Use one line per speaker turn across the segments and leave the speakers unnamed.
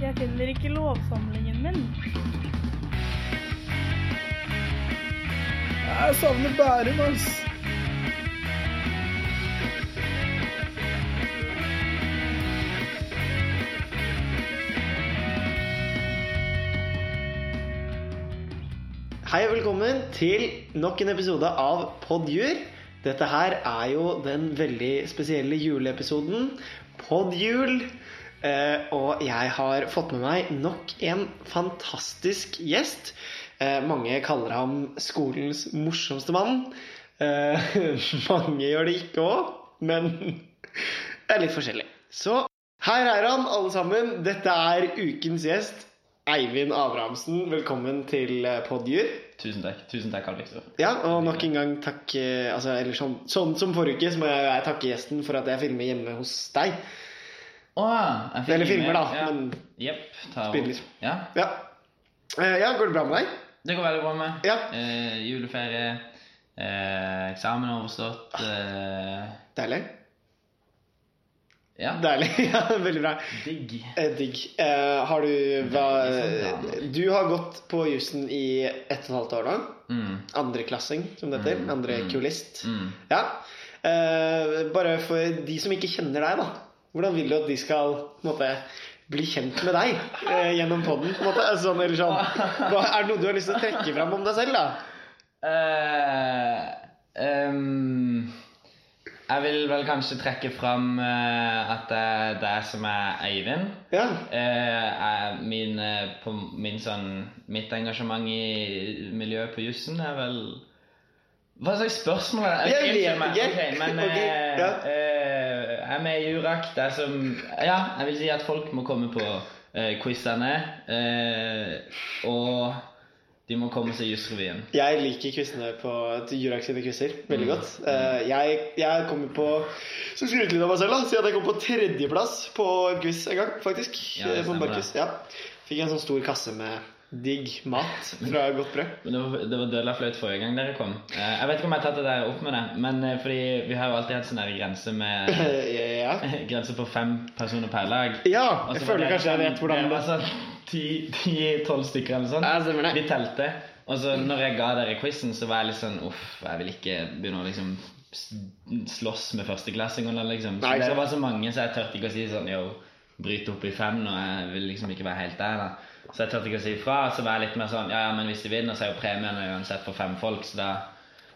har heller ikke lovsamlingen min.
Jeg savner Bærum, ass.
Hei og velkommen til nok en episode av Podjur. Dette her er jo den veldig spesielle juleepisoden. Podjul. Eh, og jeg har fått med meg nok en fantastisk gjest. Eh, mange kaller ham skolens morsomste mann. Eh, mange gjør det ikke òg, men det er litt forskjellig. Så her er han, alle sammen. Dette er ukens gjest, Eivind Abrahamsen. Velkommen til eh, Podjur.
Tusen takk. Tusen takk, Karl Viktor.
Ja, og nok en gang takk eh, altså, eller sånn, sånn som forrige uke, så må jeg, jeg takke gjesten for at jeg filmer hjemme hos deg.
Å, jeg fikk
Eller
ikke
filmer,
med-
da.
Ja.
Men
Jepp. ta
Spiller. liksom.
opp. Ja.
ja. Eh, ja, går det bra med deg?
Det går veldig bra med.
Ja.
Eh, juleferie, eh, eksamen overstått eh,
Deilig.
Ja.
Deilig, ja, Veldig bra.
Digg.
Eh, digg. Eh, har du hva eh,
Veldig sånn, ja.
Du har gått på jussen i ett og et halvt år nå.
Mm.
Andreklassing, som det heter.
Mm,
Andre
mm.
kulist.
Mm.
Ja. Eh, bare for de som ikke kjenner deg, da. Hvordan vil du at de skal på en måte, bli kjent med deg eh, gjennom podden? På en måte? Altså, Sånn, eller sånn. Hva, er det noe du har lyst til å trekke fram om deg selv, da?
Eh, ehm, jeg vil vel kanskje trekke fram eh, at det er det som er Eivind.
Ja.
Eh, jeg- min, eh, på, min sånn, mitt engasjement i miljøet på jussen er vel Hva slags spørsmål er det?
Jeg vet
Unnskyld meg.
ikke.
Ok, men
Ok,
eh,
ja.
eh, jeg er med i Jurak. Det er som Ja, jeg vil si at folk må komme på eh, quizene. Eh, og de må komme seg Jussrevyen.
Jeg liker quizene på Jurak sine quizer
Mm,
veldig godt. Eh, jeg, jeg kommer på Så skryter litt av meg selv, da. Si at jeg kom på tredjeplass på en quiz en gang, faktisk.
Ja, det
Eh, på en
stemmer
barquiz. Ja. Fikk en sånn stor kasse med digg mat fra Godt brød.
Men Det var, det var dødelig flaut forrige gang dere kom. Eh, jeg vet ikke om jeg har tatt det der opp med det, men eh, fordi vi har jo alltid hatt sånn der grense med
Eh, ja.
Grense på fem personer per lag.
ja.
Og så
Jeg
var
føler
det
kanskje jeg
sånn-
vet hvordan
Det var sånn 10-12 stykker eller sånn.
Ja, altså, stemmer det.
Vi telte. Og så når jeg ga dere quizen, så var jeg litt sånn uff, jeg vil ikke begynne å liksom s- slåss med førsteklassingene, liksom. Så
Nei, ikke sant.
dere var så mange, så jeg tørte ikke å si sånn yo, bryt opp i fem nå, jeg vil liksom ikke være helt der, da. Så jeg tørte ikke å si ifra. Så var jeg litt mer sånn ja, ja, men hvis de vinner, så er jo premiene uansett for fem folk, så da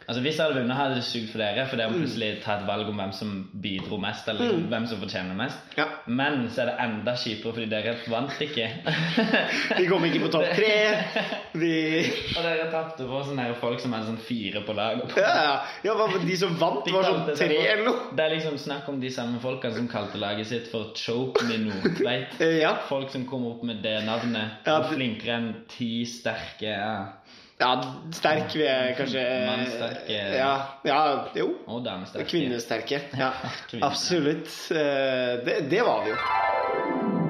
Altså Hvis jeg hadde vunnet, hadde det sugd for dere, for
Mm.
dere må plutselig ta et valg om hvem som bidro mest, eller liksom, hvem som fortjener mest.
Ja.
Men så er det enda kjipere fordi dere vant ikke.
Vi kom ikke på topp tre. Vi
og dere tapte på sånne her folk som er sånn fire på laget.
ja, ja. ja, hva- De som vant,
De
var sånn
kalte seg
tre
for-
eller noe.
Det er liksom snakk om de samme folkene som kalte laget sitt for Choke med Nordtveit.
Eh, Ja.
Folk som kom opp med det navnet.
Ja,
og
det-
flinkere enn ti sterke ja.
ja, sterk vil jeg kanskje
Mannsterke.
Ja, ja jo.
og damesterke.
Kvinnesterke. Ja,
Kvinne.
absolutt. Eh, Det, det var vi jo.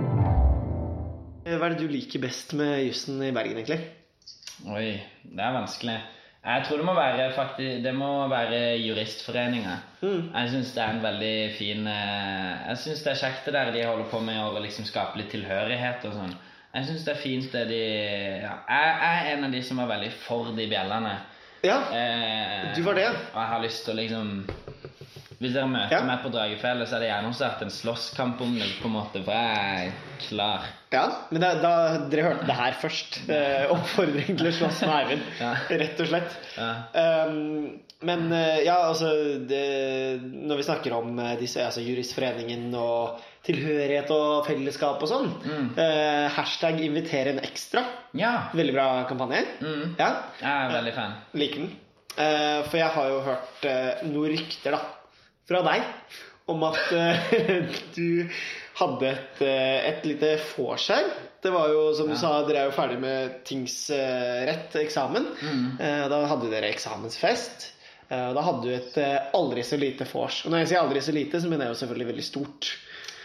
Eh, Hva er det du liker best med jussen i Bergen, egentlig?
Oi, det er vanskelig. Jeg tror det må være, faktisk, det må være juristforeninga.
Mm.
Jeg syns det er en veldig fin eh, Jeg syns det er kjekt det der de holder på med å liksom skape litt tilhørighet og sånn. Jeg syns det er fint det de ja, jeg, jeg er en av de som var veldig for de bjellene.
Ja,
Eh,
Du var det?
Og jeg har lyst til å liksom Hvis dere møter
Ja.
meg på Dragefjellet, så er det gjerne også vært en slåsskamp om det, på en måte, for jeg er klar.
ja. men da, da dere hørte det her først. eh, Oppfordring til å slåss med Eivind,
Ja.
rett og slett.
Ja.
Um, men eh, ja, altså det, Når vi snakker om eh, disse, altså, Juristforeningen og tilhørighet og fellesskap og sånn
Mm.
eh, Hashtag 'inviter en ekstra'.
ja.
Veldig bra kampanje.
Mm.
Ja,
Jeg er veldig fan.
Liker den. Eh, for jeg har jo hørt eh, noen rykter, da, fra deg om at eh, du hadde et, eh, et lite vorskjær. Det var jo, som
Ja.
du sa, dere er jo ferdig med tingsrett, eksamen.
Mm.
Eh, da hadde dere eksamensfest. Eh, og da hadde du et eh, aldri så lite vors. Og når jeg sier aldri så lite, så mener jeg jo selvfølgelig veldig stort.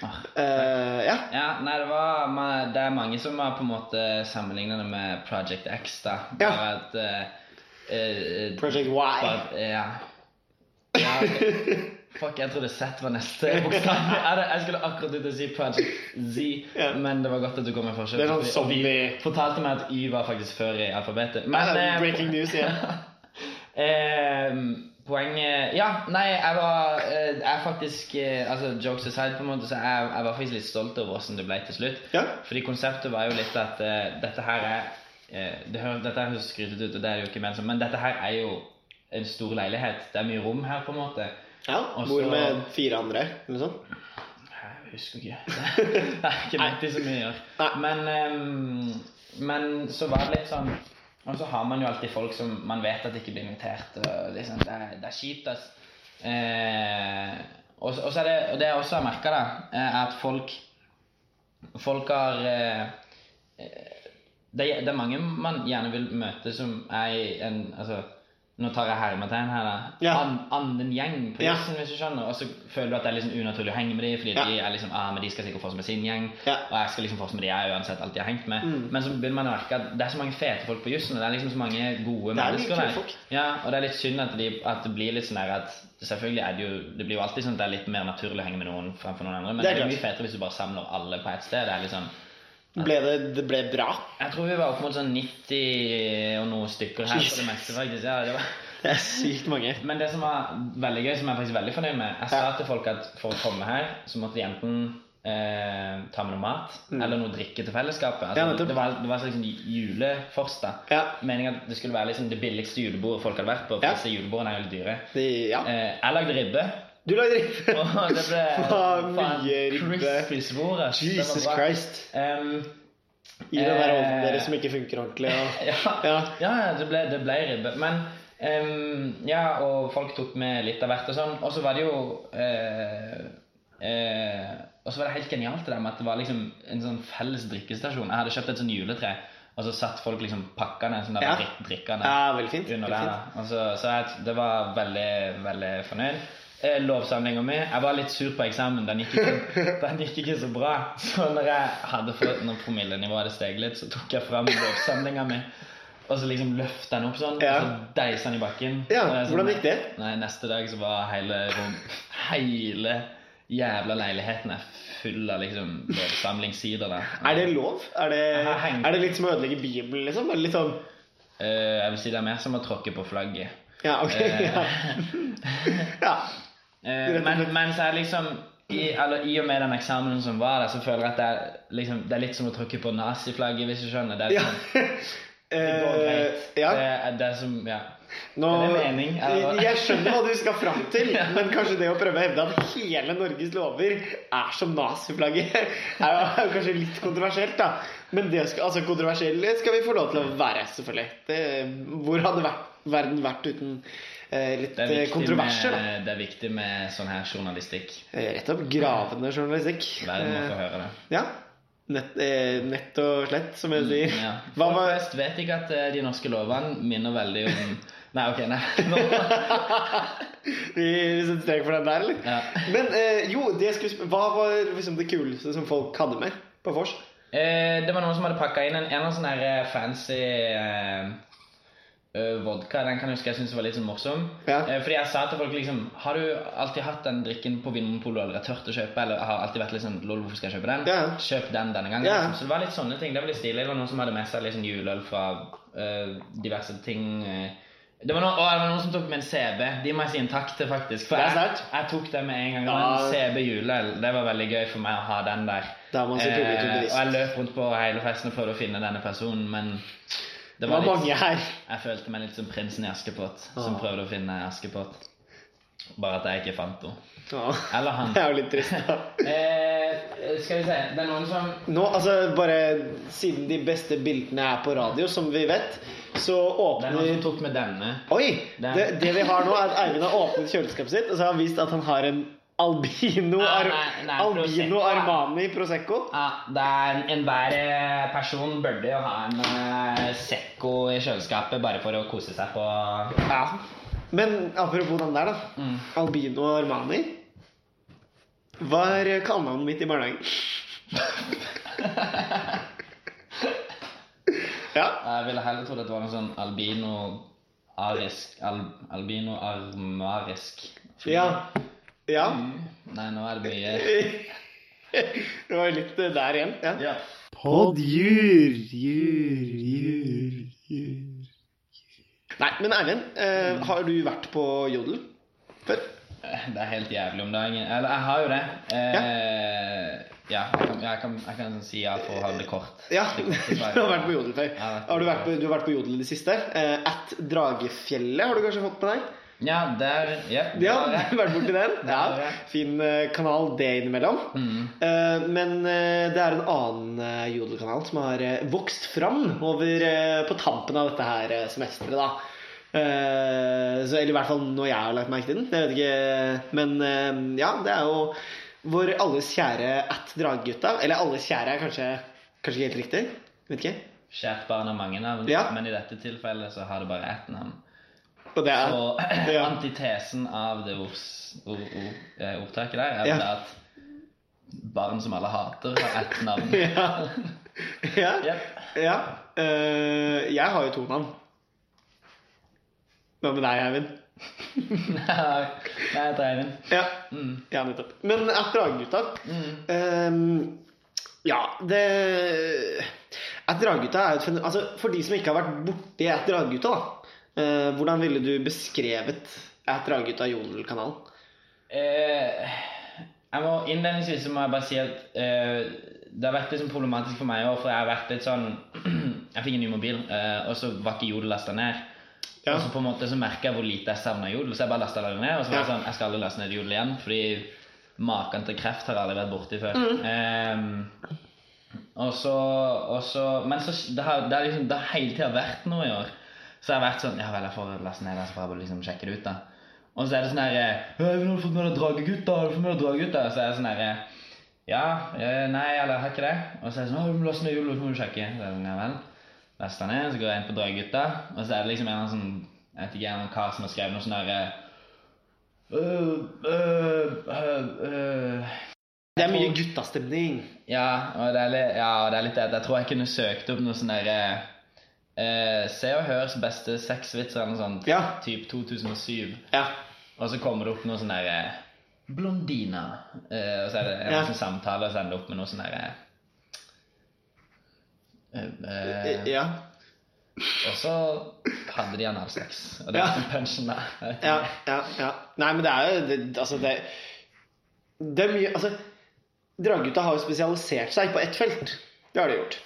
Ah.
Eh, ja.
Ja, nei, det, var, ma- det er mange som har på en måte sammenlignet det med Project X. da
Ja.
Bare at eh, eh,
Project Y.
bare at- ja. Ja, fuck, jeg trodde Z var neste bokstav. Ja, det- Jeg skulle akkurat ut og si Project Z,
Ja.
men det var godt at du kom med forskjell.
Det er sånn
Og vi-
zombie-
og vi fortalte meg at Y var faktisk før i alfabetet. Men,
Ja,
eh,
breaking news igjen.
eh, poenget Ja, nei, jeg var eh, Jeg faktisk eh, Altså, jokes aside, på en måte, så jeg, jeg var faktisk litt stolt over hvordan det ble til slutt.
Ja.
Fordi konseptet var jo litt at eh, dette her er eh, det hø- Dette her høres skrytete ut, og det er det jo ikke ment som, men dette her er jo en stor leilighet. Det er mye rom her, på en måte.
ja.
Og
Bor
så-
med fire andre, eller noe sånt.
Jeg husker ikke. Det er ikke alltid så mye å gjøre. Men, ehm, men så var det litt sånn Og så har man jo alltid folk som man vet at ikke blir invitert. Og liksom, det, er, det er kjipt, ass. Eh, og, så- og så er det, og det jeg også har merka, er at folk Folk har eh, det, er- det er mange man gjerne vil møte som er i en altså, Nå tar jeg hermetegn her, da.
Ja.
An, annen gjeng på
Ja.
jussen, sånn, hvis du skjønner. Og så føler du at det er liksom unaturlig å henge med dem, fordi
Ja.
de er liksom ah, men de skal sikkert fortsette med sin gjeng.
Ja.
Og jeg skal liksom fortsette med de jeg uansett alltid har hengt med.
Mm.
Men så begynner man å merke at det er så mange fete folk på jussen, og det er liksom så mange
Det er
gode
mye
mennesker
kule
der.
folk.
Ja, og det er litt synd at, de, at det blir litt sånn der at Selvfølgelig er det jo Det blir jo alltid sånn at det er litt mer naturlig å henge med noen fremfor noen andre, men
Det
det
er
er, mye
klart.
fetere hvis du bare samler alle på ett sted. Det er litt sånn
Ble det, det ble bra.
jeg tror vi var opp mot sånn 90 og noen stykker her på
Jesus.
det meste, faktisk. Ja, det var.
Det er sykt mange.
Men det som var veldig gøy, som jeg er faktisk veldig fornøyd med Jeg sa
Ja.
til folk at for å komme her, så måtte de enten eh, ta med noe mat eller noe drikke til fellesskapet.
Mm. Ja,
Altså,
nettopp.
det var, det var liksom julefors, da.
Ja.
Meningen at det skulle være liksom det billigste julebordet folk hadde vært på. For
Ja.
disse julebordene er jo litt dyre.
De, ja.
Eh, jeg lagde ribbe.
Du lagde ribbe.
Og det ble
Faen, mye ribbe.
crispy svor. ass. Det var
Jesus
bra.
Christ.
Em,
I den der
Eh.
ovnen deres som ikke funker ordentlig. Og...
ja.
Ja.
Ja, ja, det ble, det ble ribbe. Men ehm, Ja, og folk tok med litt av hvert og sånn. Og så var det jo eh, eh, Og så var det helt genialt det der med at det var liksom en sånn felles drikkestasjon. Jeg hadde kjøpt et sånn juletre, og så satt folk liksom pakkene sånn der
Ja.
drik- drikkene
ja, veldig fint.
under
veldig
der.
fint.
da. Og så, Altså, så jeg, det var veldig, veldig fornøyd. Eh, Lovsamlinga mi Jeg var litt sur på eksamen. Den gikk ikke, den gikk ikke så bra. Så når jeg hadde fått når promillenivået hadde steget litt, så tok jeg fram lovsamlinga mi. Og så liksom løfta den opp sånn,
Ja.
og så deisa den i bakken.
Ja,
Og jeg sånn-
hvordan gikk det?
Nei, Neste dag så var hele rom, hele jævla leiligheten er full av liksom lovsamlingssider. da.
Er det lov? Er det,
Jeg henger-
er det litt som å ødelegge Bibelen, liksom? Eller litt sånn
Eh, jeg vil si det er mer som å tråkke på flagget.
Ja, ok. Ja. ja.
Eh, men, men så er det liksom i, eller, I og med den eksamen som var der, så føler jeg at det er, liksom, det er litt som å trykke på naziflagget, hvis du skjønner. Det er
ja.
liksom, det går
Eh,
greit.
ja.
Det er det er som Ja.
Nå,
Er det mening, eller?
jeg skjønner hva du skal fram til, men kanskje det å prøve å hevde at hele Norges lover er som naziflagget, er jo er jo kanskje litt kontroversielt, da. Men det skal, altså, kontroversielle skal vi få lov til å være, selvfølgelig. Det, hvor hadde vært, verden vært uten eh, litt
Det er,
eh,
viktig
kontroverser, da?
med, det er viktig med sånn her journalistikk.
Eh, Rett opp gravende journalistikk.
Verden må få
Eh,
høre det.
ja. Nett, eh, nett og slett, som jeg sier.
Mm, Ja.
Hva
Folk
var
flest vet ikke at eh, de norske lovene minner veldig om Nei, ok, nei.
Vi setter strek for den der, eller?
Ja.
Men eh, jo, det jeg skulle sp- hva var liksom det kuleste som folk hadde med på vors?
Eh, det var noen som hadde pakka inn en, en eller annen sånn her eh, fancy eh, eh, vodka. Den kan jeg huske jeg syntes var litt sånn morsom.
Ja.
Eh, fordi jeg sa til folk liksom Har du alltid hatt den drikken på Vinmonopolet eller er tørt å kjøpe? Eller har alltid vært litt sånn Lol, hvorfor skal jeg kjøpe den?
Ja.
Kjøp den denne gangen.
Ja.
Liksom. Så det var litt sånne ting. Det var litt stilig. Det var noen som hadde med seg litt sånn juleøl fra eh, diverse ting. eh. det var, noen, å, det var noen som tok med en CB. De må jeg si en takk til, faktisk. For
Det er
jeg,
sterkt.
jeg tok det med en gang.
Ja.
En CB juleøl. Det var veldig gøy for meg å ha den der.
Da er man så publikum
Eh, og jeg
bevisst.
løp rundt på hele festen og prøvde å finne denne personen, men det
Det
var
var
litt,
mange her.
jeg følte meg litt som prinsen i Askepott, som
Ah.
prøvde å finne Askepott. Bare at jeg ikke fant henne.
Ja.
Eller han.
Det er jo litt trist, da.
Eh, skal vi se Det er noen som
Nå, altså bare Siden de beste bildene er på radio, som vi vet, så
Det er noen som
åpner
tok med denne.
Oi!
Det er-
Det, det vi har nå, er at Eivind har åpnet kjøleskapet sitt, og så har han vist at han har en albino,
Nei,
Ar
nei, nei,
albino
Prosecco, ja.
Armani Prosecco.
Ja, det er en- Enhver eh, person burde jo ha en eh, Secco i kjøleskapet bare for å kose seg på
Ja. Men apropos den der, da.
Mm.
Albino Armani var kallenavnet mitt i barnehagen. ja.
Jeg ville heller trodd at det var noe sånn albino arisk al, Albino armarisk.
Ja. ja.
Nei, nå er det mye
det var litt eh, der igjen. Ja.
Ja.
Poddjur, jur, jur, jur. Nei, men Erlend,
Mm.
eh, har du vært på Jodel før?
Det er helt jævlig om dagen. Eller, jeg har jo det. Eh, ja. jeg, kan, jeg, kan, jeg kan si ja for å ha det kort.
Ja,
Det
du
korte svaret.
har vært på Jodel før.
Jeg har vært på
Har du, vært på,
Jodel.
du har vært på Jodel i det siste. Eh, at Dragefjellet har du kanskje fått med deg?
Ja, der Ja.
Ja,
der
du
er jeg.
har vært borti den.
Der er
Ja,
jeg.
fin eh, kanal det innimellom.
Mm.
Eh, Men eh, det er en annen eh, jodelkanal som har eh, vokst fram over, eh, på tampen av dette her eh, semesteret. da. Eh, Så, eller i hvert fall når jeg har lagt merke til den. Jeg vet ikke, men eh, ja, det er jo vår alles kjære at Dragegutta. Eller alles kjære er kanskje, kanskje ikke helt riktig. Vet ikke.
Kjært barn har mange navn,
Ja.
men i dette tilfellet så har det bare ett navn.
Og det er,
Og
Ja.
antitesen av det ords, ord, ord, eh, ordtaket der er
Ja.
vel at barn som alle hater, har ett navn.
ja. ja.
Jep.
ja. Eh, Jeg har jo to navn. Hva med deg, Eivind?
Nei, jeg tar den.
Ja.
Mm.
Ja, nettopp. Men at Dragegutta
Mm.
ehm, Ja, det At Dragegutta er jo et fenomen altså, For de som ikke har vært borti At Dragegutta, da. eh, hvordan ville du beskrevet At Dragegutta Jodel-kanalen?
Eh, jeg må, innledningsvis så må jeg bare si at eh, det har vært litt sånn problematisk for meg i år, for jeg har vært litt sånn Jeg fikk en ny mobil, eh, og så var ikke Jodel lasta ned.
Ja.
Og så på en måte så merka jeg hvor lite jeg savna Jodel, så jeg bare lasta det ned. Og så var jeg
Ja.
sånn Jeg skal aldri laste ned Jodel igjen, fordi maken til kreft har jeg aldri vært borti før. Eh, og så, og så Men så, det, har, det, har liksom, det har hele tida vært noe i år. Så jeg har vært sånn Ja vel, jeg får laste ned den, så får jeg bare liksom sjekke det ut, da. Og så er det sånn herre Har du fått med deg Dragegutta? Har du fått med deg Dragegutta? Så er det sånn herre Ja, eh, nei, eller jeg har ikke det. Og så er det sånn Å, du må laste ned jula, så må du sjekke. Så er det sånn, ja vel. Laster ned, så går jeg inn på Dragegutta, og så er det liksom en eller annen sånn Jeg vet ikke, en eller annen kar som har skrevet noe sånn herre
Det er mye guttastemning.
ja, og det er litt, ja, og det er litt det at jeg tror jeg kunne søkt opp noe sånn der eh, Se og Hørs beste sexvitser eller noe sånt.
Ja.
Typ 2007.
Ja.
Og så kommer det opp noe sånn der eh, Blondina. Eh, og så er det en
Ja.
sånn samtale, og så ender det opp med noe sånn derre eh,
ja.
Og så hadde de analsex. Og det
Ja.
er liksom punchen der.
Ja, ja, ja. Nei, men det er jo det, Altså, det Det er mye Altså, Dragegutta har jo spesialisert seg på ett felt. Det har de gjort.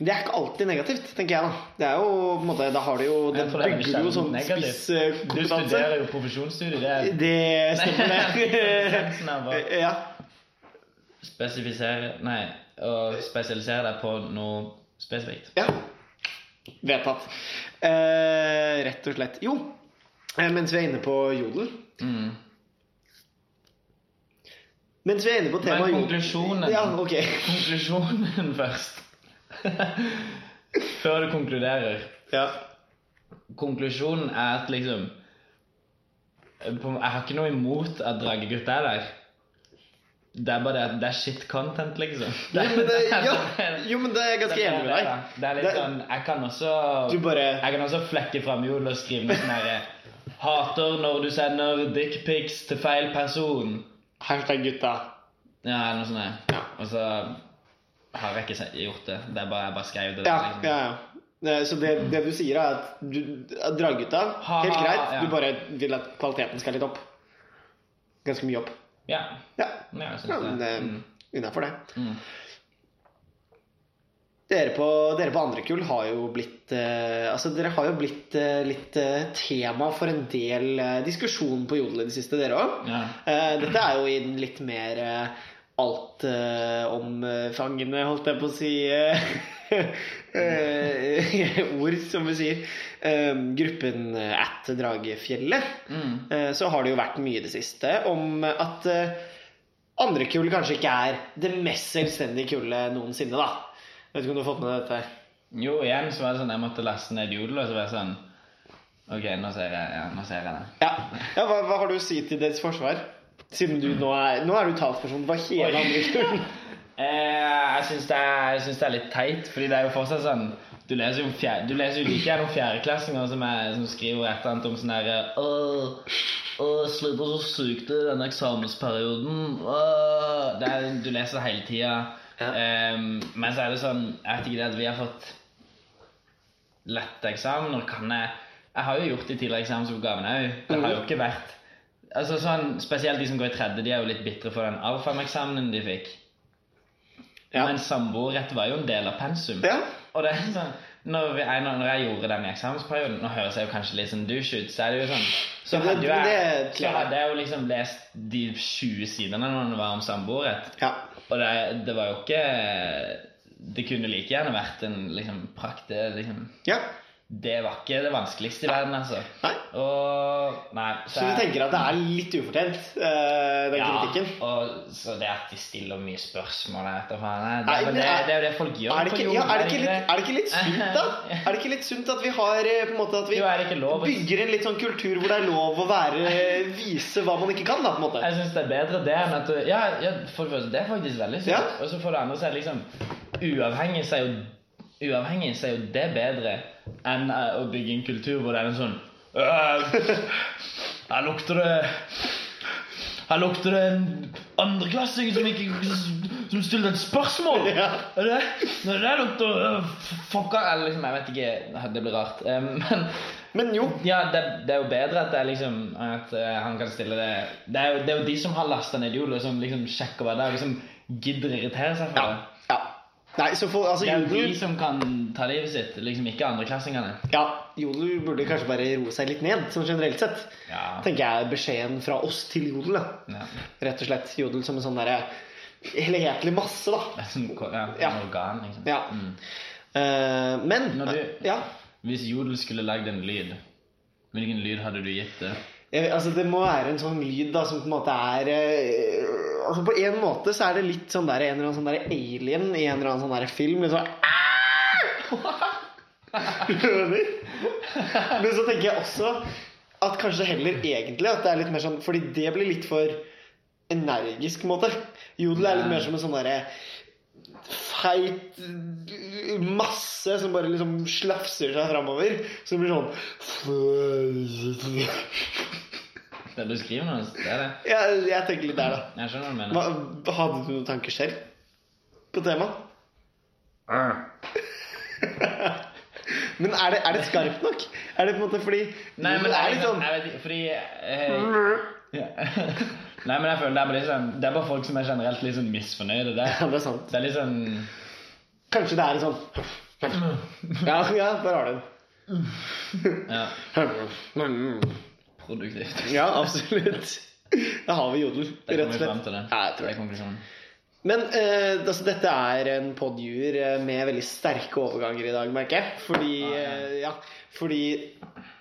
Men det er ikke alltid negativt, tenker jeg, da. Det er jo på en måte Da har de jo Det
Jeg tror det er
bygger jo
sjelden
sånn
negativt. Du
spisskompetanse.
studerer jo profesjonsstudiet. Det er
Det stemmer,
Essensen
det.
er bare-
ja.
Spesifisere Nei, å spesialisere deg på noe spesifikt.
ja. Vedtatt. Eh, rett og slett. Jo, eh, mens vi er inne på jodel
Mm.
Mens vi er inne på
Men
temaet jodel
konklusjonen
Ja, ok.
Konklusjonen først. Før du konkluderer.
Ja.
Konklusjonen er at liksom på- Jeg har ikke noe imot at Dragegutt er der. Det er bare det at det er shit content, liksom.
Jo, men det, ja. jo, men det er jeg
Det
ganske
er
enig med
det,
deg.
da. Det er litt
Det-
sånn Jeg kan også
Du bare
Jeg kan også flekke fram jul og skrive noe sånn herre Hater når du sender dickpics til feil person.
Hashtag gutta.
Ja, eller noe sånt.
Ja.
der. Og så har jeg ikke se- gjort det. Det er bare Jeg bare skrev det.
Ja,
liksom.
ja, ja. Eh, Så det, det du sier, er at du at draggutta
Ha,
Helt
ha,
greit,
ja.
du bare vil at kvaliteten skal litt opp. Ganske mye opp.
ja.
Ja,
ja jeg
ja
syns
men
det.
eh,
Mm.
innafor det.
Mm.
Dere på, dere på andre kull har jo blitt eh, Altså, dere har jo blitt eh, litt eh, tema for en del eh, diskusjon på Jodel i det siste, dere òg.
Ja.
Eh, dette er jo i den litt mer eh, altomfangende, eh, holdt jeg på å si, eh, eh, ord, som vi sier. Eh, gruppen eh, At Dragefjellet.
Mm.
Eh, så har det jo vært mye i det siste om at eh, andre kull kanskje ikke er det mest selvstendige kullet noensinne, da. Jeg vet ikke om du har fått med deg dette?
Jo, igjen så var det sånn Jeg måtte laste ned jodel, og så var jeg sånn OK, nå ser jeg, ja, nå ser jeg det.
Ja, ja hva, hva har du å si til deres forsvar? Siden du nå er Nå er du talsperson for hele
Oi.
andre kull.
Eh, jeg syns det, er- jeg syns det er litt teit, fordi det er jo fortsatt sånn Du Du leser jo, om fjer- du leser jo like gjerne om fjerdeklassinger som, er- som skriver et eller annet om sånn herre Å, slipper så sykt i denne eksamensperioden. Åh. Det er, du leser det hele tida.
Ja.
men så er det sånn Jeg vet ikke det at vi har fått lette eksamener. Kan jeg Jeg har jo gjort de tidligere eksamensoppgavene òg. Det har jo ikke vært Altså sånn, Spesielt de som går i tredje, de er jo litt bitre for den alfam-eksamenen de fikk.
Ja.
Men samboerrett var jo en del av pensum.
Ja.
Og det er sånn når, vi, jeg, når jeg gjorde den i eksamensperioden Nå høres jeg jo kanskje litt sånn douche ut, så er det jo sånn Så
Ja, men
hadde jo jeg,
det-
så hadde jeg jo liksom lest de 20 sidene når det var om samboerrett.
ja.
Og det, det var jo ikke Det kunne like gjerne vært en liksom prakt det, liksom,
ja.
det var ikke det vanskeligste i verden, altså.
Nei.
Og Nei.
Så du
jeg-
tenker at det er litt ufortjent, eh, den kritikken?
og så det at de stiller mye spørsmål jeg vet da faen, jeg.
Nei,
Det, men
men
det,
er-
det er jo det folk gjør.
Er det,
på
ikke,
jorden,
ja, er, det ikke
ikke
litt, er det ikke litt sunt, da? Er det ikke litt sunt at vi har eh, på en måte at vi
Jo, er det ikke lov å-
bygger en litt sånn kultur hvor det er lov å være, eh, vise hva man ikke kan, da, på en måte?
Jeg syns det er bedre det enn at du Ja, ja for det første, det er faktisk veldig sunt.
Ja.
Og så for det andre så er det liksom Uavhengig så er jo, uavhengig, så er jo det bedre enn eh, å bygge en kultur hvor det er en sånn «Øh, Her lukter det Her lukter det en andreklassing som ikke Som stilte et spørsmål!
Ja.
Er det Når det der lukter øh, Fucka Eller liksom, jeg vet ikke. Det blir rart. Eh, Men
Men jo.
ja, det, det er jo bedre at, det er liksom, at eh, han kan stille det Det er jo, det er jo de som har lasta ned jul, og som liksom sjekker hver dag, og som gidder å irritere seg for
Ja.
det.
ja. Nei, så for, altså,
Det er jo
jodel
de som kan ta livet sitt, liksom ikke andreklassingene.
Ja, jodel burde kanskje bare roe seg litt ned, sånn generelt sett.
Ja.
Tenker jeg er beskjeden fra oss til jodel, da.
Ja.
Rett og slett jodel som en sånn derre helhetlig masse, da.
Det er sånn ko- ja,
Ja.
en organ, liksom.
Ja.
Mm.
Eh, men
Når du-
Ja.
Hvis Jodel skulle lagd en lyd, hvilken lyd hadde du gitt det?
Jeg, altså Det må være en sånn lyd da som på en måte er eh, Altså På en måte så er det litt sånn der en eller annen sånn der alien i en eller annen sånn der film. Liksom. Skjønner? Men så tenker jeg også at kanskje heller egentlig at det er litt mer sånn Fordi det blir litt for energisk, på en måte. Jodel er litt mer som en sånn derre feit masse som bare liksom slafser seg framover. Så det blir sånn
Det du skriver nå, det er det.
ja, jeg tenker litt der, da.
Jeg skjønner hva du mener.
Hva, hadde du noen tanker selv på temaet?
Eh.
Men er det, er det skarpt nok? Er det på en måte fordi
Nei, men
det er
jeg,
litt sånn Mm.
jeg vet ikke, fordi eh, ja. Nei, men jeg føler det er, bare litt sånn- det er bare folk som er generelt litt sånn misfornøyde. Det,
Ja, det er sant.
det er litt sånn
Kanskje det er en sånn Ja, ja der har du
ja,
den.
produktivt.
Ja, absolutt. Da har vi jodel,
Det
rett og
kommer vi fram
slett.
til det.
Ja, jeg tror
det
det.
er konklusjonen.
Men eh, altså, dette er en podjuer eh, med veldig sterke overganger i dag, merker jeg. Fordi,
Ah, ja.
eh, ja, fordi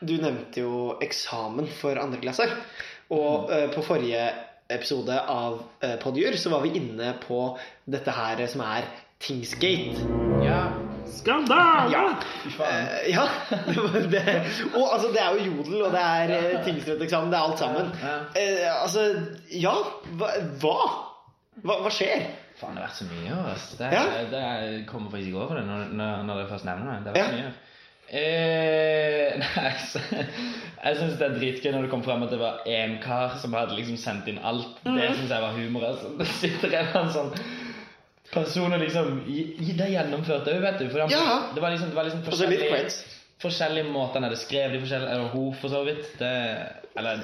du nevnte jo eksamen for andreklasser. Og
Mm.
eh, på forrige episode av eh, Podjur så var vi inne på dette her eh, som er Tingsgate.
Ja,
Skandale!
Ja.
fy faen.
Eh, ja. det var det. Og altså, det er jo jodel, og det er eh, tingsretteksamen, det er alt sammen.
Ja.
Eh, altså, ja. Hva? Hva, hva, hva skjer?
Faen, det har vært så mye i år, ass. Det,
Ja.
det, jeg kommer faktisk ikke over det når, når, når jeg først nevner det. Det har vært
Ja.
så mye i år. Eh, nei, altså, jeg syns det er dritgøy når det kom fram at det var én kar som hadde liksom sendt inn alt. Det
Mhm.
syns jeg var humor. Altså. Det sitter en eller annen sånn person og liksom i- i Det gjennomførte òg, vet du. For han,
Ja.
Det var liksom, det var liksom
Og så Altså, litt
forskjellige-
creds.
forskjellige måter han hadde skrevet de forskjellige Eller hun, for så vidt. Det, eller jeg,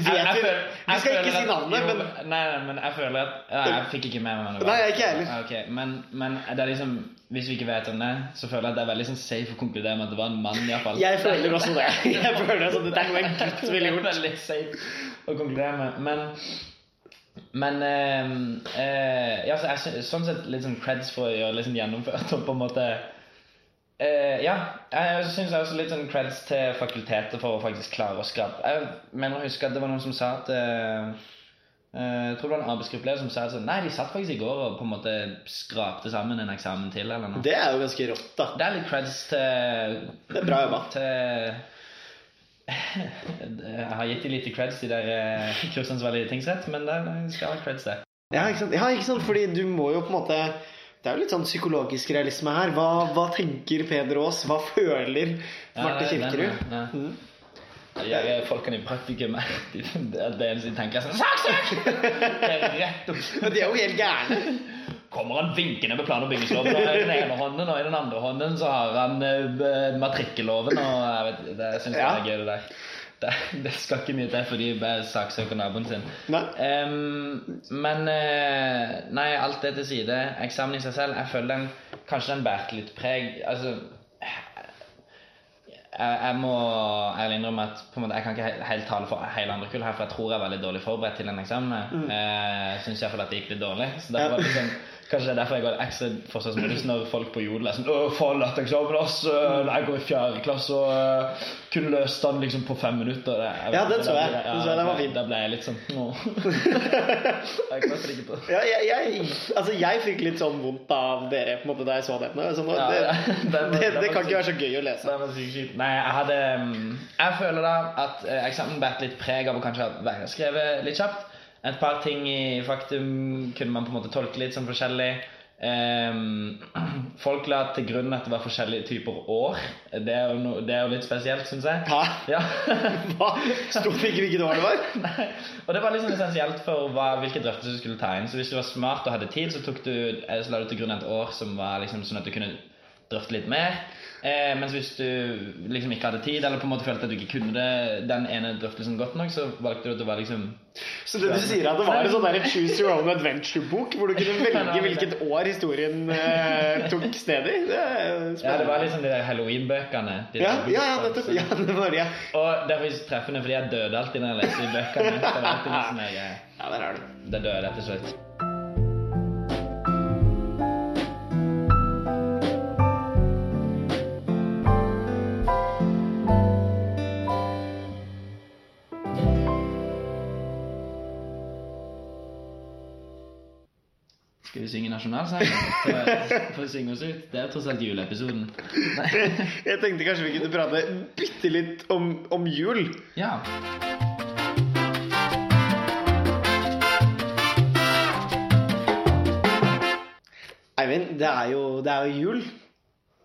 Vet vi-
føler-
vi skal ikke
føler
si navnet,
jo,
men-
Nei, nei, men jeg føler at ja, Jeg fikk ikke med meg hva det
Nei, jeg ikke heller.
Ja, ok, men, men det er liksom Hvis vi ikke vet om det, så føler jeg at det er veldig sånn safe å konkludere med at det var en mann, iallfall.
Jeg føler også det. Jeg føler sånn, Dette er noe en gutt ville gjort.
Veldig safe å konkludere med. Men men eh, eh, ja, så jeg sy- sånn sett litt sånn creds for å gjøre liksom gjennomført og på en måte eh, Ja. Jeg syns også litt sånn creds til fakultetet for å faktisk klare å skrape. Jeg mener å huske at det var noen som sa at eh, eh, jeg tror det var en arbeidsgruppeleder som sa at sånn, Nei, de satt faktisk i går og på en måte skrapte sammen en eksamen til. eller noe
Det er jo ganske rått, da.
Det er litt creds til
Det er bra jobba.
til Jeg har gitt de lite creds, de der eh, Kristiansvalg tingsrett, men der skal jeg ha creds, det.
Ja, ikke sant? Ja, ikke sant? Fordi du må jo på en måte Det er jo litt sånn psykologisk realisme her. Hva, hva tenker Peder Aas? Hva føler
Ja,
Marte
det er den,
Kirkerud?
ja.
Mm.
Jeg jager folkene i praktikum. Det er det eneste de tenker. er sånn, Sak, sak! Det er rett opp.
Men de er jo helt gærne.
Kommer han vinkende med plan- og bygningsloven og i den ene hånden, og i den andre hånden så har han eh, b- matrikkelloven, og jeg vet, det, jeg synes
Ja.
det er gøy det der. Det, det skal ikke mye til, for de bare saksøker naboen sin.
Nei.
Ehm, men eh, Nei, alt det til side. Eksamen i seg selv, jeg føler den Kanskje den bærte litt preg. Altså jeg, jeg må ærlig innrømme at på en måte, jeg kan ikke he- helt tale for hele andre kull her, for jeg tror jeg er veldig dårlig forberedt til en eksamen. Mm. Eh, synes iallfall at det gikk litt dårlig. Så
Ja.
derfor, var det liksom, Kanskje det er derfor jeg går ekstra forsvarsmodus når folk på Jodel er sånn «Åh, faen, lett eksamen, ass!
Mm.
øh, Jeg går i fjerde klasse og øh, kunne løst den liksom på fem minutter. Det, jeg,
Ja, den
vet ikke,
så
da
jeg.
ble-
Den så jeg, den var fin.
Da ble jeg litt sånn Åh. Jeg klarte ikke på
Ja, jeg, jeg, altså jeg fikk litt sånn vondt av dere på en måte da jeg så den. Så nå,
Ja,
det,
den
det,
var-
det,
den var
kan
syk.
ikke være så gøy å lese.
Det var sykt kjipt. Nei, jeg hadde mm, Jeg føler da at eh, eksamen bært litt preg av å kanskje ha vært- skrevet litt kjapt. Et par ting i faktum kunne man på en måte tolke litt som forskjellig. Ehm, folk la til grunn at det var forskjellige typer år. Det er jo, no, det er jo litt spesielt, syns jeg.
Hæ?
Ja.
Hva? Sto det ikke hvilket år det var?
Nei. Og det var liksom essensielt for hva, hvilke drøftelser du skulle ta inn. Så hvis du var smart og hadde tid, så, tok du, eh, så la du til grunn et år som var liksom sånn at du kunne drøfte litt mer. Eh, mens hvis du liksom ikke hadde tid, eller på en måte følte at du ikke kunne det, den ene drøftelsen godt nok, så valgte du at det var liksom
Så det du sier er at det var en sånn der Choose Your Own Adventure-bok, hvor du kunne velge hvilket år historien eh, tok sted i? Det er jo
Ja, det var
spennende.
liksom de der halloween-bøkene. de
Ja,
der-
ja, ja, nettopp. Ja, det var det.
Og derfor er det så treffende, fordi jeg døde alltid når jeg leste de bøkene. Det var alltid liksom jeg,
Ja, der er det.
det døde jeg til slutt. Skal vi synge nasjonalsangen? For, for å synge oss ut? Det er jo tross alt juleepisoden. Nei.
Jeg tenkte kanskje vi kunne prate bitte litt om, om jul.
Ja.
Eivind, det er jo, det er jo jul.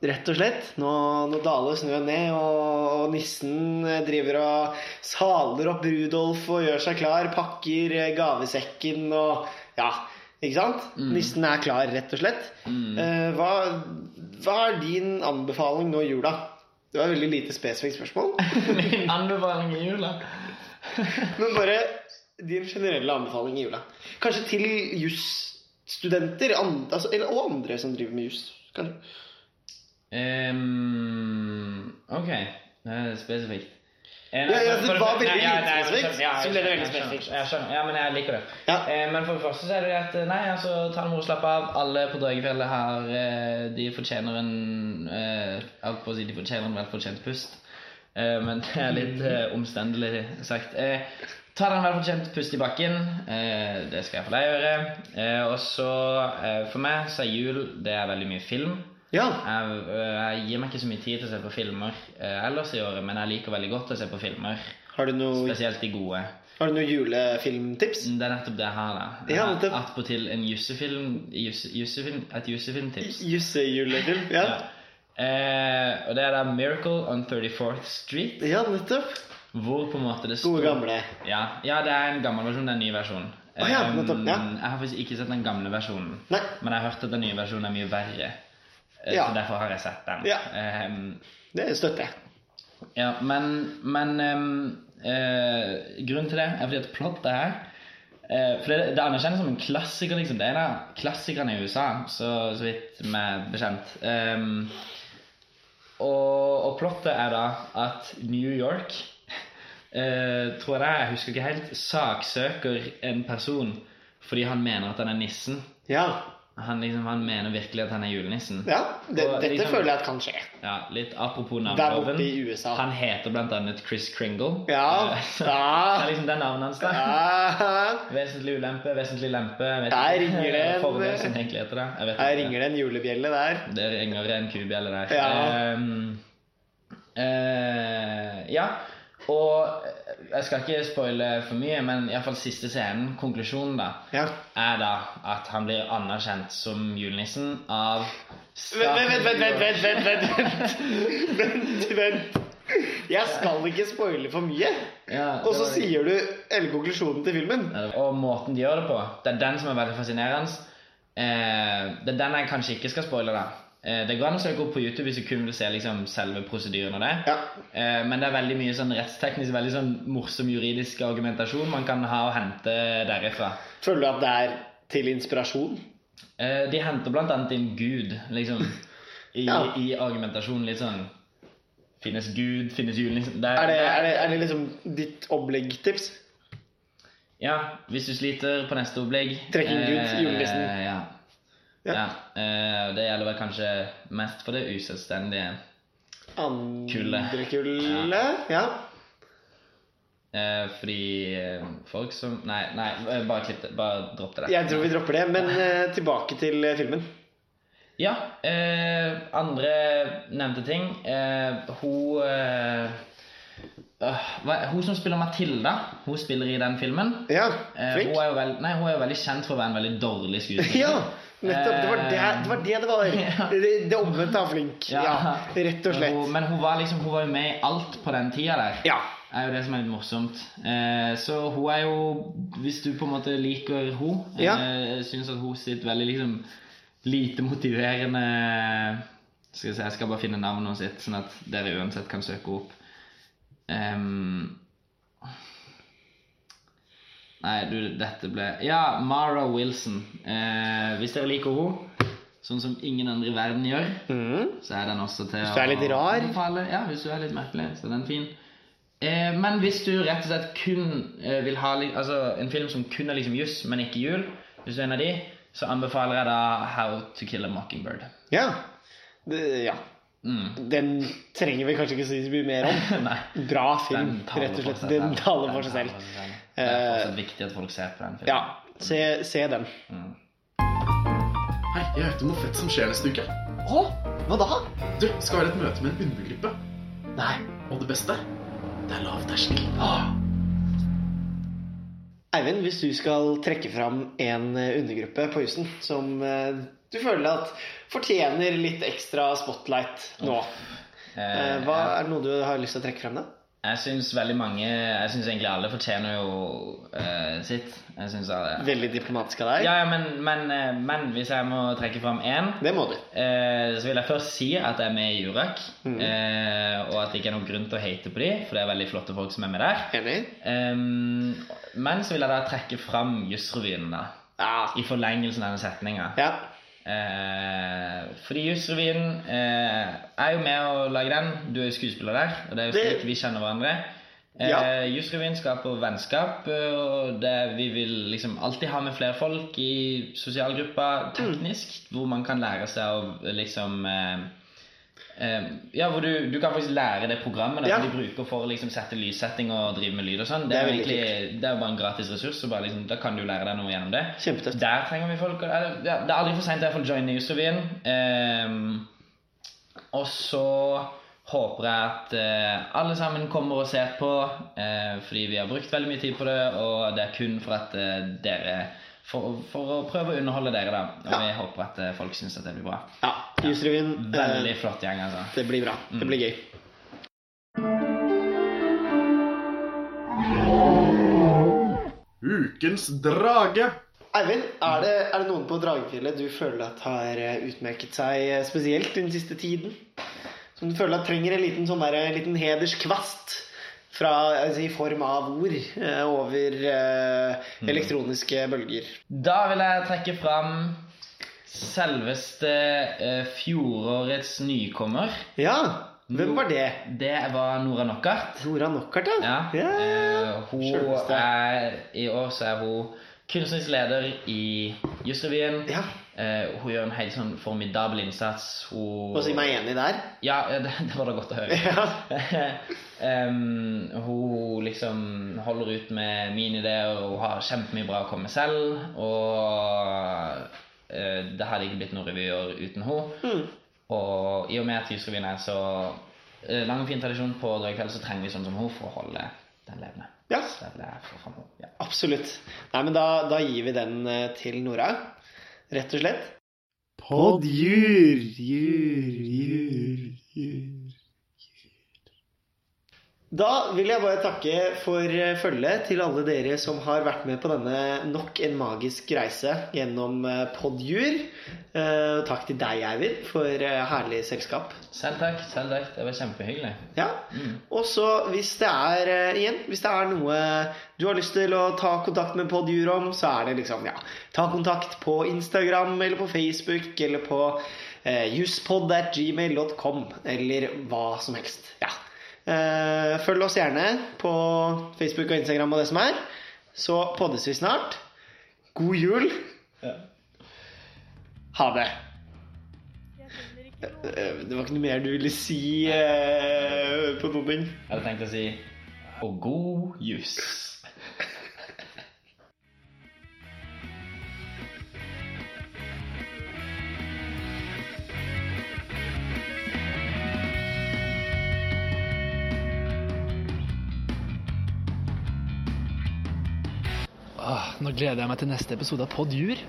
Rett og slett. Nå, nå daler snøen ned, og, og nissen eh, driver og saler opp Rudolf og gjør seg klar. Pakker eh, gavesekken og Ja, ikke sant? Nissen er klar, rett og slett. Eh, hva, hva er din anbefaling nå i jula? Det var et veldig lite spesifikt spørsmål.
Min anbefaling i jula.
Men bare din generelle anbefaling i jula. Kanskje til jusstudenter an- altså, eller- og andre som driver med juss. kanskje.
Ehm, ok, det er spesifikt. Eh, nei,
Ja, ja,
for-
det
for-
var
nei,
veldig
ja,
lite
nei, men
spesifikt,
skjønner- ja,
så ble det
jeg skjønner,
veldig
jeg skjønner,
spesifikt.
Jeg skjønner, ja, men jeg liker det.
Ja.
Eh, men for det første så er det jo at Nei, altså, ta det med ro, slapp av. Alle på Dragefjellet har eh, De fortjener en eh, Alt på å si de fortjener en velfortjent pust. Eh, men det er litt eh, omstendelig sagt. Eh, ta den velfortjent pust i bakken. Eh, det skal jeg for deg gjøre. Eh, og så, eh, for meg, så er jul Det er veldig mye film.
Ja.
Jeg, øh, jeg gir meg ikke så mye tid til å se på filmer eh, ellers i året, men jeg liker veldig godt å se på filmer.
Har du noe,
Spesielt de gode.
har du noe julefilmtips?
Det er nettopp det her, da.
Ja,
Jeg
nettopp.
har Attpåtil en jussefilm jusse, jussefilm, et jussefilmtips.
Jussejulefilm? Ja.
Ja. Eh, og det er da 'Miracle on 34th Street',
ja, nettopp.
hvor på en måte det
Gode,
står
gamle.
Ja, ja det er en gammel versjon, det er en ny versjon.
Å ja,
Ehm,
nettopp, ja.
Jeg har faktisk ikke sett den gamle versjonen,
Nei.
men jeg har hørt at den nye versjonen er mye verre. Eh,
Ja.
Så derfor har jeg sett den.
Ja.
Ehm,
Det støtter jeg.
Ja, men, men ehm, eh, Grunnen til det er fordi at plottet her eh, For det, det anerkjennes som en klassiker, liksom. Det er en av klassikerne i USA, så, så vidt meg bekjent. Ehm, og, og plottet er da at New York eh, Tror jeg det er, jeg husker ikke helt, saksøker en person fordi han mener at han er nissen.
Ja.
Han, liksom, han mener virkelig at han er julenissen.
ja. Det,
Og
dette
liksom-
føler jeg at kan skje.
Ja, litt apropos
Der borte
navneloven.
i USA.
Han heter blant annet Chris Kringle.
Ja.
Eh, så- Det er
ja.
liksom det navnet hans, da.
ja.
Vesentlig ulempe, vesentlig lempe. Jeg vet
Der
ikke.
ringer det en-
Forbehold som egentlig heter det. Jeg vet
Her
ikke.
ringer det en julebjelle der.
Det ringer en kubjelle der.
Ja.
Ehm, eh, ja. Og eh, Jeg skal ikke spoile for mye, men iallfall siste scenen, konklusjonen, da,
Ja.
er da at han blir anerkjent som julenissen av
Vent, vent, vent, vent, vent, vent, vent, vent. vent, vent. Jeg skal ikke spoile for mye.
Ja,
Og
det
så
var-
sier du hele konklusjonen til filmen.
Og måten de gjør det på. Det er den som er veldig fascinerende. Eh, det er den jeg kanskje ikke skal spoile. da eh, Det går an å søke opp på YouTube hvis du kun vil se liksom, selve prosedyren og det.
Ja.
Eh, men det er veldig mye sånn rettsteknisk, veldig sånn morsom juridisk argumentasjon man kan ha og hente derifra.
Føler du at det er til inspirasjon?
Eh, de henter blant annet inn Gud, liksom, i,
Ja.
i argumentasjonen. Litt sånn Finnes Gud, finnes julen liksom. Det
Er det, er det, er det liksom ditt oppleggtips?
Ja, hvis du sliter på neste opplegg
Trekk inn Gud,
eh,
julenissen.
Ja.
Ja.
ja. eh, det gjelder vel kanskje mest for det uselvstendige.
Andre
Kulle.
kulle? Ja.
Eh, fordi eh, folk som Nei, nei eh, bare klipp det. Bare dropp det. der.
Jeg tror vi dropper det, men eh, tilbake til eh, filmen.
Ja. Eh, andre nevnte ting. Eh, hun eh, øh, hva, Hun som spiller Matilda, hun spiller i den filmen.
Ja,
Eh,
flink.
hun, er jo veld, nei, hun er jo veldig kjent for å være en veldig dårlig skuespiller.
Ja, nettopp. Det var det det var. Det det var.
Eh, Ja.
Det, det omvendte av flink.
Ja.
Ja, rett og
Men hun,
slett.
men hun var liksom Hun var jo med i alt på den tida der.
Ja.
Det er jo det som er litt morsomt. Eh, så hun er jo Hvis du på en måte liker hun
Ja.
eh, Syns at hun sitt veldig liksom lite motiverende Skal jeg si Jeg skal bare finne navnet hennes, sitt, sånn at dere uansett kan søke opp. Ehm, nei, du, dette ble Ja, Mara Wilson. Eh, hvis dere liker henne, sånn som ingen andre i verden gjør,
Mhm.
så er den også til
Hvis du er litt
å
rar.
anbefale. Ja, hvis du er litt merkelig, så er den fin. Eh, men hvis du rett og slett kun eh, vil ha li- altså, en film som kun er liksom juss, men ikke jul, hvis du er en av de, så anbefaler jeg da How to Kill a Mockingbird.
Ja. Det, ja.
Mm.
Den trenger vi kanskje ikke si så mye mer om.
Nei.
Bra
Den
film,
taler
rett og
for
slett.
seg
Den
selv.
taler
Den
for seg selv. Eh,
Det er fortsatt viktig at folk ser på den filmen.
Ja, se, se den.
Hei, jeg vet om noe fett som skjer neste uke.
Å, hva da?
Du, skal være et møte med en undergruppe.
Nei.
Og det beste, det er Ah, lav terskel.
Eivind, hvis du skal trekke fram en eh, undergruppe på husen som eh, du føler at fortjener litt ekstra spotlight nå, eh,
Eh,
hva er det noe du har lyst til å trekke fram, da?
Jeg syns veldig mange Jeg syns egentlig alle fortjener jo eh, sitt. Jeg synes alle,
Veldig diplomatisk av deg.
ja, ja, men, men, eh, men hvis jeg må trekke fram én,
Det må du.
eh, så vil jeg først si at jeg er med i Jurak. Eh, og at det ikke er noen grunn til å hate på de, for det er veldig flotte folk som er med der.
Enig?
Ehm, men så vil jeg da trekke fram Jussrevyen, da.
Ja.
I forlengelsen av den setninga.
ja.
Eh, fordi Jusrevyen eh, er jo med å lage den. Du er jo skuespiller der, og det er jo
Det-
slik vi kjenner hverandre. Eh,
Ja.
Jusrevyen skaper vennskap, eh, og det, vi vil liksom alltid ha med flere folk i
Mm.
sosialgruppa teknisk, hvor man kan lære seg å liksom eh, eh, ja, hvor du, du kan faktisk lære det programmet da,
Ja.
som de bruker for å liksom sette lyssetting og drive med lyd og sånn.
Det
Det,
er
er jo
veldig
egentlig det er jo bare en gratis ressurs, så bare liksom, da kan du lære deg noe gjennom det.
Kjempetøft.
Der trenger vi folk. Eller, ja, det er aldri for seint å joine Jusrevyen. Ehm, og så håper jeg at eh, alle sammen kommer og ser på, eh, fordi vi har brukt veldig mye tid på det, og det er kun for at eh, dere for, for å prøve å underholde dere, da. Og
Ja. Eh.
vi håper at eh, folk syns at det blir bra.
Ja. Jusrevyen.
Veldig flott gjeng, altså.
Det blir bra. Det blir gøy.
Ukens drage.
Eivind, er det, er det noen på Dragefjellet du føler at har eh, utmerket seg eh, spesielt den siste tiden? Som du føler at trenger en liten, sånn der, en liten hederskvast fra, altså, i form av ord eh, over eh, elektroniske bølger?
Da vil jeg trekke fram selveste eh, fjorårets nykommer.
Ja, hvem var det?
Det var Nora Knockart.
Nora Knockart,
Ja. Eh, hun
Selveste.
er, I år så er hun kunstnerisk leder i Jussrevyen.
Ja.
Eh, hun gjør en helt sånn formidabel innsats. Hun
Må si meg enig der.
Ja, ja, det, det var da godt å høre.
Ja.
Em, hun liksom holder ut med mine ideer, og hun har kjempemye bra å komme med selv. Og eh, det hadde ikke blitt noe revyer uten henne.
Mm.
Og i og med at Jusrevyen er så eh, lang og fin tradisjon på Dragkveld, så trenger vi sånn som henne for å holde den levende.
Ja,
Stella, for faen, ja.
absolutt. Nei, men da, da gir vi den eh, til Nora, rett og slett.
Podjur, jur, jur, jur.
Da vil jeg bare takke for eh, følget til alle dere som har vært med på denne nok en magisk reise gjennom eh, Podjur. Eh, Takk til deg, Eivind, for eh, herlig selskap.
Selv takk. selv takk, Det var kjempehyggelig. Mm.
Ja. Og så hvis det er eh, igjen, hvis det er noe du har lyst til å ta kontakt med Podjur om, så er det liksom, ja Ta kontakt på Instagram eller på Facebook eller på eh, juspod.gmail.com eller hva som helst. Ja. Eh, følg oss gjerne på Facebook og Instagram og det som er. Så poddes vi snart. God jul. Ha det.
Jeg heller ikke lov.
Eh, Det var ikke noe mer du ville si eh, på noen ting?
Jeg hadde tenkt å si og god jus.
Åh, nå gleder jeg meg til neste episode av Podjur.